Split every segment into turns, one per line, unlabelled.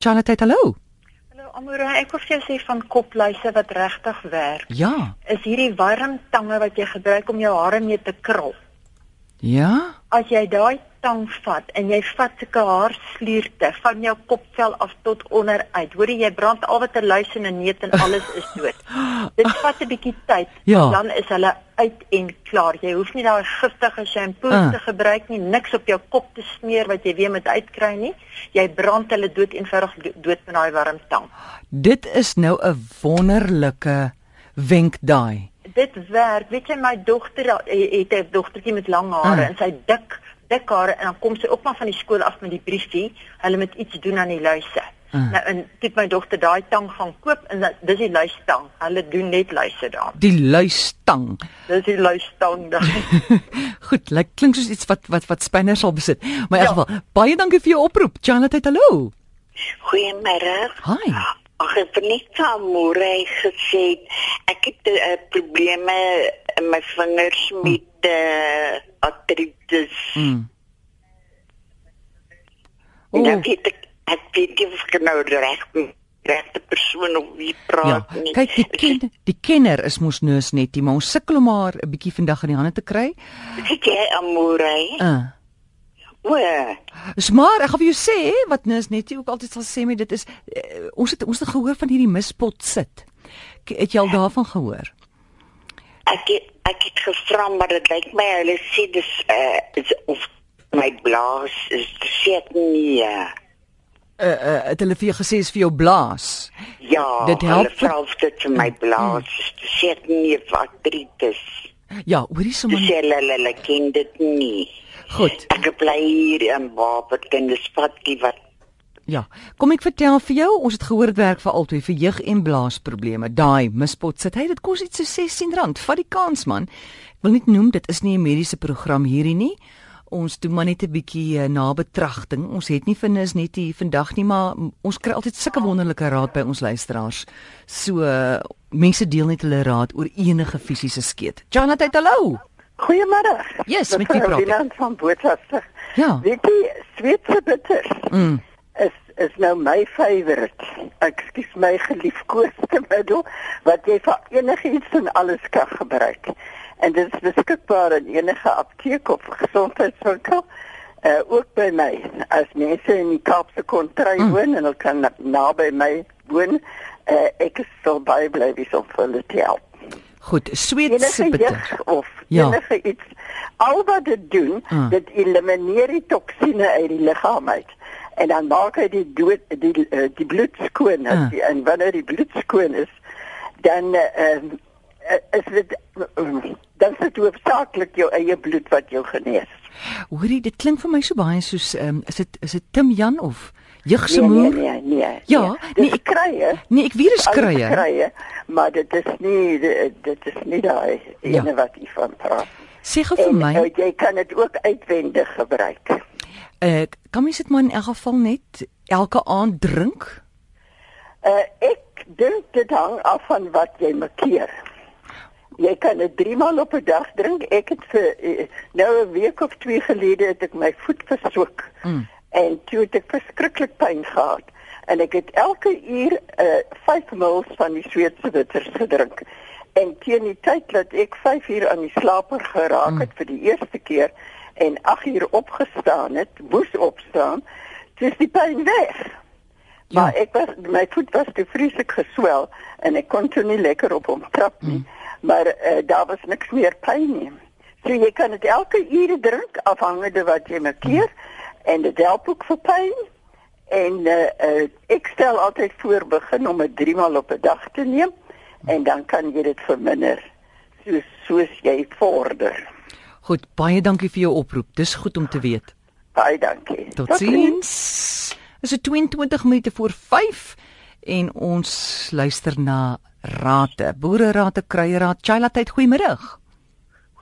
Charlotte, hallo.
Hallo Amora, ek wil vir jou sê van kopluise wat regtig werk.
Ja.
Is hierdie warmtange wat jy gebruik om jou hare mee te krul.
Ja.
As jy daai tang vat en jy vat sulke haarslierte van jou kopvel af tot onder uit. Hoor jy, jy brand al wat 'n luis en 'n neut en alles is dood. Dit vat 'n bietjie tyd,
Ja.
dan is hulle uit en klaar. Jy hoef nie daai giftige shampoo
Ah.
te gebruik nie, niks op jou kop te smeer wat jy weer moet uitkry nie. Jy brand hulle dood eenvoudig do- dood met daai warm tang.
Dit is nou 'n wonderlike wenk daai.
Dit werk. Weet jy my dogter eh, het 'n dogtertjie met lang hare
Ah.
en sy dik dik hare en dan kom sy ook maar van die skool af met die briefie, hulle moet iets doen aan die luise.
Ah.
Nou en toe het my dogter daai tang gaan koop en dat- dis die luistang. Hulle doen net luise daar.
Die luistang.
Dis die luistang daar.
Goed, lyk klink soos iets wat wat wat spanners sal besit. Maar
Ja.
in elk geval, baie dankie vir jou oproep. Charlotte, hallo.
Goeiemôre.
Hi.
Ag, ek het net vanmôre gesê ek het uh, probleme in my vingers met uh, artritis.
Mm.
Oh.
O,
Dan weet ek ek weet nie of ek nou reg regte persoon of wie
ja,
praat nie.
kyk die ken, die kenner is mos nous net, maar ons sukkel om haar 'n bietjie vandag in die hande te kry.
Sit jy amore?
Uh.
O,
Dis maar ek gaan vir jou sê wat nou is net jy ook altyd sal sê met dit is uh, ons het ons het gehoor van hierdie mispot sit. K- Het jy al daarvan gehoor?
ek het, ek het gevra maar dit lyk my hulle sê dis uh, is of my blaas is seker nie. eh, Ja.
Uh uh het hulle vir jou gesê is vir jou blaas.
Ja,
Dit help Mm. vir-
selfs dit vir my blaas. Dit sê nie wat dritis.
Ja, hoorie
Dit
sommer.
sê hulle hulle ken dit nie.
Goed.
Ek bly hier in Barberton, dis padjie wat
Ja. Kom ek vertel vir jou, ons het gehoor dit werk vir albei vir jeug en blaasprobleme. Daai mispot sit. Hey, dit kos iets so R16. Vat die kans man. Ek wil net noem dit is nie 'n mediese program hierdie nie. Ons doen maar net 'n bietjie eh, nabetragting. Ons het nie vinnis net hier vandag nie, maar mm, ons kry altyd sulke wonderlike raad by ons luisteraars. So eh, mense deel net hulle raad oor enige fisiese skeet. Jonathan, hallo.
Goeiemôre.
Yes, met wie praat ek?
Binant van Botsasta.
Ja.
Weet jy, Sweedse bitters
Mm.
is is nou my favourite. Ekskuus my geliefkoeste middel wat jy vir enigiets en alles kan gebruik. En dit is beskikbaar in enige apteek of gesondheidswinkel. Uh, ook by my as mense in die Kaapse kontry mm. woon en hulle kan na- naby my woon, uh, ek is sal baie bly wees om vir hulle te help
Goed, sweet
enige
sippe.
jeug of
Ja.
enige iets. Al wat dit doen,
Ah.
dit elimineer die toksine uit die liggaam uit. En dan maak hy die dood die eh, die bloed skoon as
Ah.
die, en wanneer die bloed skoon is, dan uh, is dit um, dan sit hoofsaaklik jou eie bloed wat jou genees.
Hoorie, dit klink vir my so baie soos ehm um, is dit is dit Tim Jan of
Nee nee
jeugsemoer?
nee nee.
Ja, nee,
nee,
ek-
ek krye.
Nee, ek weet dis
alles
kruie.
krye, maar dit is nie dit, dit is nie daai
Ja.
ene wat jy van praat.
Sê gou vir
En
my,
uh, jy kan dit ook uitwendig gebruik. eh,
ek eh, kan mens dit maar in elk geval net elke aand drink?
Uh ek dink dit hang af van wat jy makkeer. Jy kan dit 3 maal op 'n dag drink. Ek het vir eh, nou 'n week of 2 gelede het ek my voet versoek. Mm. En toe het ek verskriklik pyn gehad en ek het elke uur uh 5 ml van die Sweedse bitters gedrink. En teen die tyd dat ek 5 uur aan die slaper geraak het mm. vir die eerste keer en 8 uur opgestaan het, moes opstaan, dis die pyn weg.
Ja.
Ja. Maar ek was my voet was te vreeslik geswel en ek kon toe nie lekker op hom trap nie. Mm. Maar uh, daar was niks meer pyn nie. So jy kan dit elke uur drink afhangende wat jy makkeer mm. en dit help ook vir pyn. En uh, uh, ek stel altyd voor begin om dit 3 maal op 'n dag te neem en dan kan jy dit verminder soos soos jy vorder.
Goed, baie dankie vir jou oproep. Dis goed om te weet.
Baie dankie.
Totsiens. Is dit 22 minute voor 5 en ons luister na rate. Boere rate, kruie raad. Chaila tyd, goeiemiddag.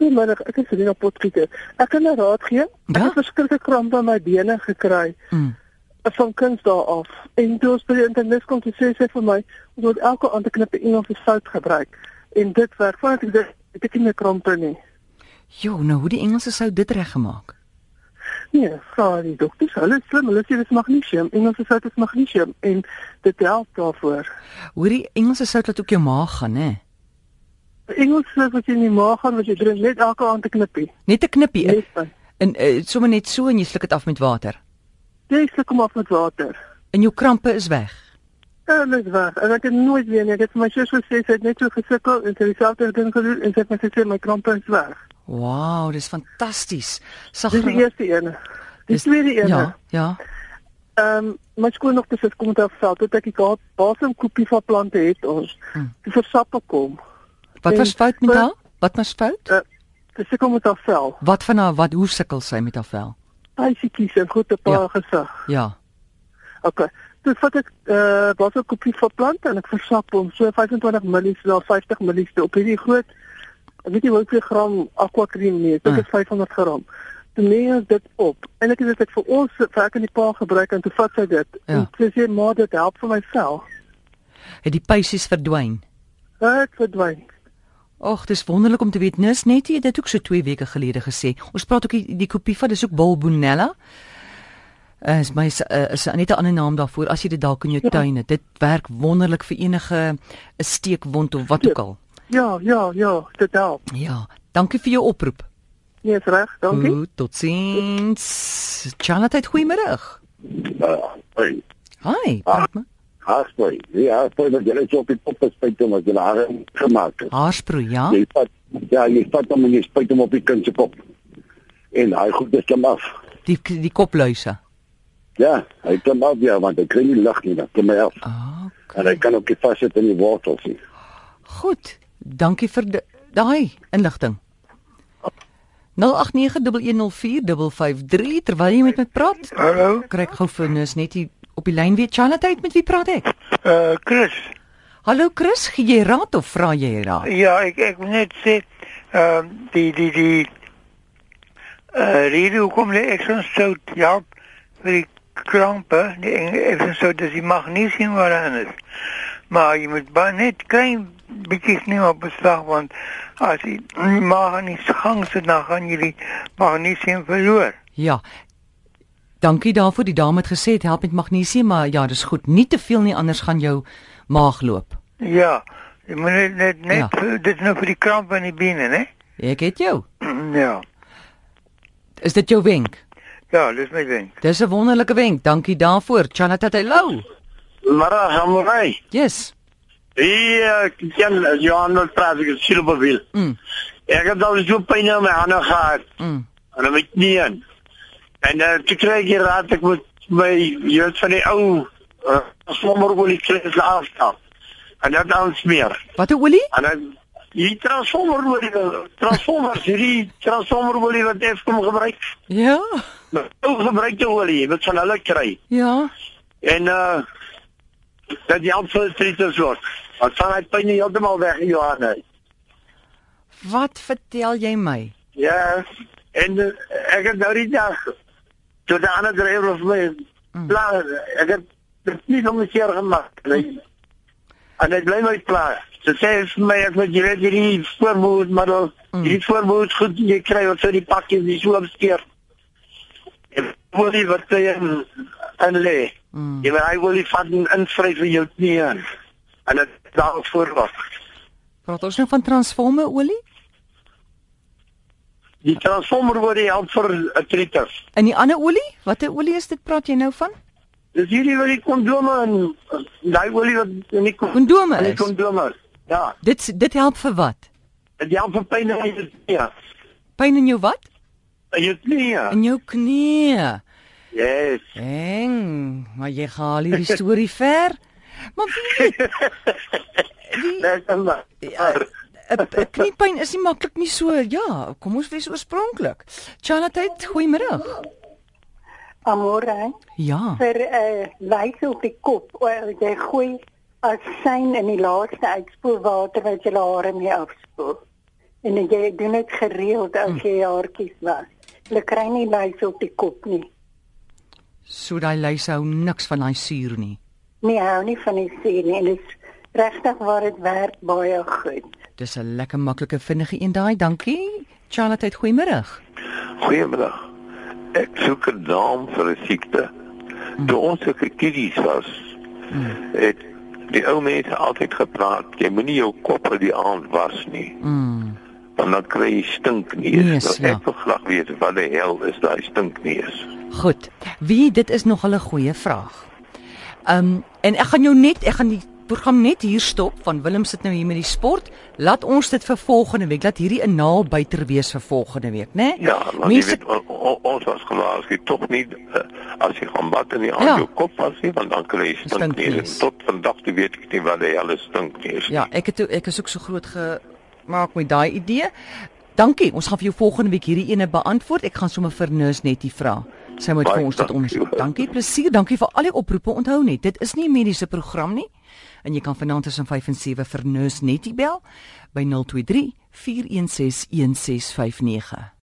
Goeiemôre, ek is Rina Potgieter. Ek kan 'n raad gee. Ek
Ja?
het verskriklik kramp by my bene gekry
Mm.
van Kunsdag af. En toe ons by die internet kom te sê sy vir my, ons moet elke aand 'n knippe Engels se sout gebruik. En dit werk want ek dink ek het nie meer krampe nie.
Jo, nou hoe die Engelse sou dit reggemaak.
Nee, vra die dokters, hulle is slim, hulle sê dis magnesium en ons sout is magnesium en dit help daarvoor.
Hoorie, Engelse sout laat ook jou maag gaan, hè?
Engels sout wat jy in die maag gaan wat jy drink net elke aand 'n knippie.
Net 'n knippie in
Net van.
in uh, sommer net so en jy sluk dit af met water.
Jy sluk hom af met water.
En jou krampe is weg.
En dit was, en ek het nooit weer nie. Ek het vir my sussie gesê sy het net so gesukkel en sy het dieselfde ding gedoen en sy het my gesê my krampe is weg.
Wow, dis fantasties. Sag eh,
Dis die eerste een. Die tweede een.
Ja, ja.
Ehm um, my skoondochter se kom daar veld tot ek die kaart basemkoepie van plante het ons.
Hmm.
Die versap kom.
Wat
En
was fout met
vir-
haar? Wat was fout?
Eh, Dis ek kom met haar vel.
Wat van haar wat hoe sukkel sy met haar vel?
Basiekies en goed 'n paar
Ja.
ja. gesig.
Ja.
Okay. Dis vat ek eh uh, basemkoepie van plante en ek versap hom so 25 ml na 50 ml op hierdie groot ek weet nie hoeveel gram aquacream nie, ek dink dit is 500 gram. Toe neem ons dit op en ek het dit vir ons vir ek en die pa gebruik en toe vat sy dit.
Ja.
En sy sê maar dit help vir my vel.
Het die pysies verdwyn.
Dit verdwyn.
Ag, dis wonderlik om te weet. Nis net jy het dit ook so 2 weke gelede gesê. Ons praat ook die, die kopie van dis ook Bulbonella. Uh, is my s- uh, is net 'n ander naam daarvoor as jy dit dalk in jou
Ja.
tuin het. Dit werk wonderlik vir enige 'n steekwond of wat ook al.
Ja, ja, ja, dit help.
Ja, dankie vir jou oproep.
Nee, is reg, dankie.
Goed, totsiens. Charlotte, goeiemôre.
Uh, hey,
Hi.
Ah.
Padma.
haarspooi. Die haarspooi wat jy so op die kop spuit om as jy haar gemaak het.
Haarsproei, ja?
Jy vat ja, jy vat hom en jy spuit hom op die kind se kop. En hy goed dit klim af.
Die die kopluise.
Ja, hy klim af ja, want hy kry nie lig nie, dan klim hy af.
Ah,
En hy kan ook nie vassit in die wortels nie.
goed. Dankie vir de- daai inligting. 0891104553 terwyl jy met my praat.
Hallo,
Kry ek gou vir nus net hier op die lyn weet Charlotte uit met wie praat ek?
uh Chris.
Hallo Chris, gee jy raad of vra jy raad?
Ja, ek ek wil net sê ehm die die die uh rede hoekom hulle ek soms sou help vir die krampe, die ek sou dat jy magnesium wat aan is. Maar jy moet baie net klein bietjies neem op beslag want as jy maar aan die gang sit dan gaan jy die magnesium verloor.
Ja. Dankie daarvoor. Die dame het gesê dit help met magnesium, maar ja, dis goed. Nie te veel nie anders gaan jou maag loop.
Ja, jy moet net net, net
Ja.
ja. dit is nou vir die krampe in die bene, né?
Ek het jou.
Ja.
Is dit jou wenk?
Ja, dis my ding.
Dis 'n wonderlike wenk. Dankie daarvoor. Chanata Hello.
Mara Samurai.
Yes.
Hy ken Johan wat eh, praat ek sien op wil.
Mm.
Ek het al so pyn in my hande gehad
Mm.
en in my knieën. En uh, toe kry ek die raad ek moet my jeug van die ou uh, sommer oor die kruis afstap. En dit aansmeer.
Wat 'n olie?
En dan die transformer oor die transformers hierdie transformer olie wat Eskom gebruik.
Ja.
Ou gebruikte olie wat van hulle kry.
Ja.
En uh dat die amfilters word. Want van hy pyn heeltemal weg in jou hande.
Wat vertel jy my?
Ja, en uh, ek het nou die dag toe die ander drywer vir
Mm.
my pla ek het dit nie om seer gemaak nie. En ek bly my pla. Sy sê vir my ek moet julle hierdie voorbehoed maar dan
Mm.
hierdie voorbehoed goed jy kry wat so die pakkies die so opsteer. En wil jy wat jy en lê.
Mm.
Jy wil hy wil jy vat en invryf vir jou knie aan. En dit daarvoor was.
Praat ons nou van transformer olie?
Die transformer word die help vir artritis.
En die ander olie? Watter olie is dit? Praat jy nou van?
Dis hierdie wat die kondome en daai olie wat in die kon-
Kondome
in Die
is?
kondome. Ja,
Dit dit help vir wat?
dit ja. help vir pyn in jou knie.
Pyn in jou wat?
In jou knie.
In jou knie.
Yes.
Eng, maar jy gaan al hierdie storie ver. Maar wie weet,
Dis maar.
Ja, 'n- 'n kniepyn is nie maklik nie so. Ja, kom ons wees oorspronklik. Chanatheid, goeiemiddag.
Amore
Ja.
vir 'n uh, lyse op die kop. Oor jy gooi asyn in die laaste uitspoelwater wat jy hare mee afspoel. En jy doen dit gereeld as jy haartjies was. Hulle kry nie lyse op die kop nie.
So daai lys hou niks van daai suur nie.
Nee, hou nie van die sien nie. En dit is regtig waar dit werk baie goed.
Dis 'n lekker maklike vinnige een daai, dankie. Charlotte, goeiemôre.
Goeiemiddag.
Ek soek 'n naam vir 'n siekte. Toe ons se kiddies was,
Hmm.
het die ou mense altyd gepraat, jy moenie jou kop in die aand was nie,
Mm.
want dan kry jy stinkneus.
Neus,
Nou,
ja.
Ek wil graag weet wat die hel is daai stinkneus.
Goed. Wie dit is nog 'n goeie vraag. Ehm um, en ek gaan jou net ek gaan die program net hier stop van Willem sit nou hier met die sport. Laat ons dit vir volgende week. Laat hierdie 'n naalbuiter wees vir volgende week, né?
Ja, want jy
Mense
weet on, on, ons was gewaarsku tog nie uh, as jy gaan bad in die aand
Ja.
ja. jou kop was nie want dan kry jy stinkneus.
Stinkneus.
En Tot vandag toe weet ek nie wat die hel is stinkneus. nie.
Ja, ek het ook- ek is ook so groot gemaak met daai idee. Dankie. Ons gaan vir jou volgende week hierdie ene beantwoord. Ek gaan sommer vir nurse net die vra. Sy moet
Baie
vir ons dit
dankie.
ondersoek. Dankie, plesier. Dankie vir al die oproepe. Onthou net, dit is nie 'n mediese program nie. En jy kan vanaand tussen 5 en 7 vir nurse net die bel by 023 416 1659.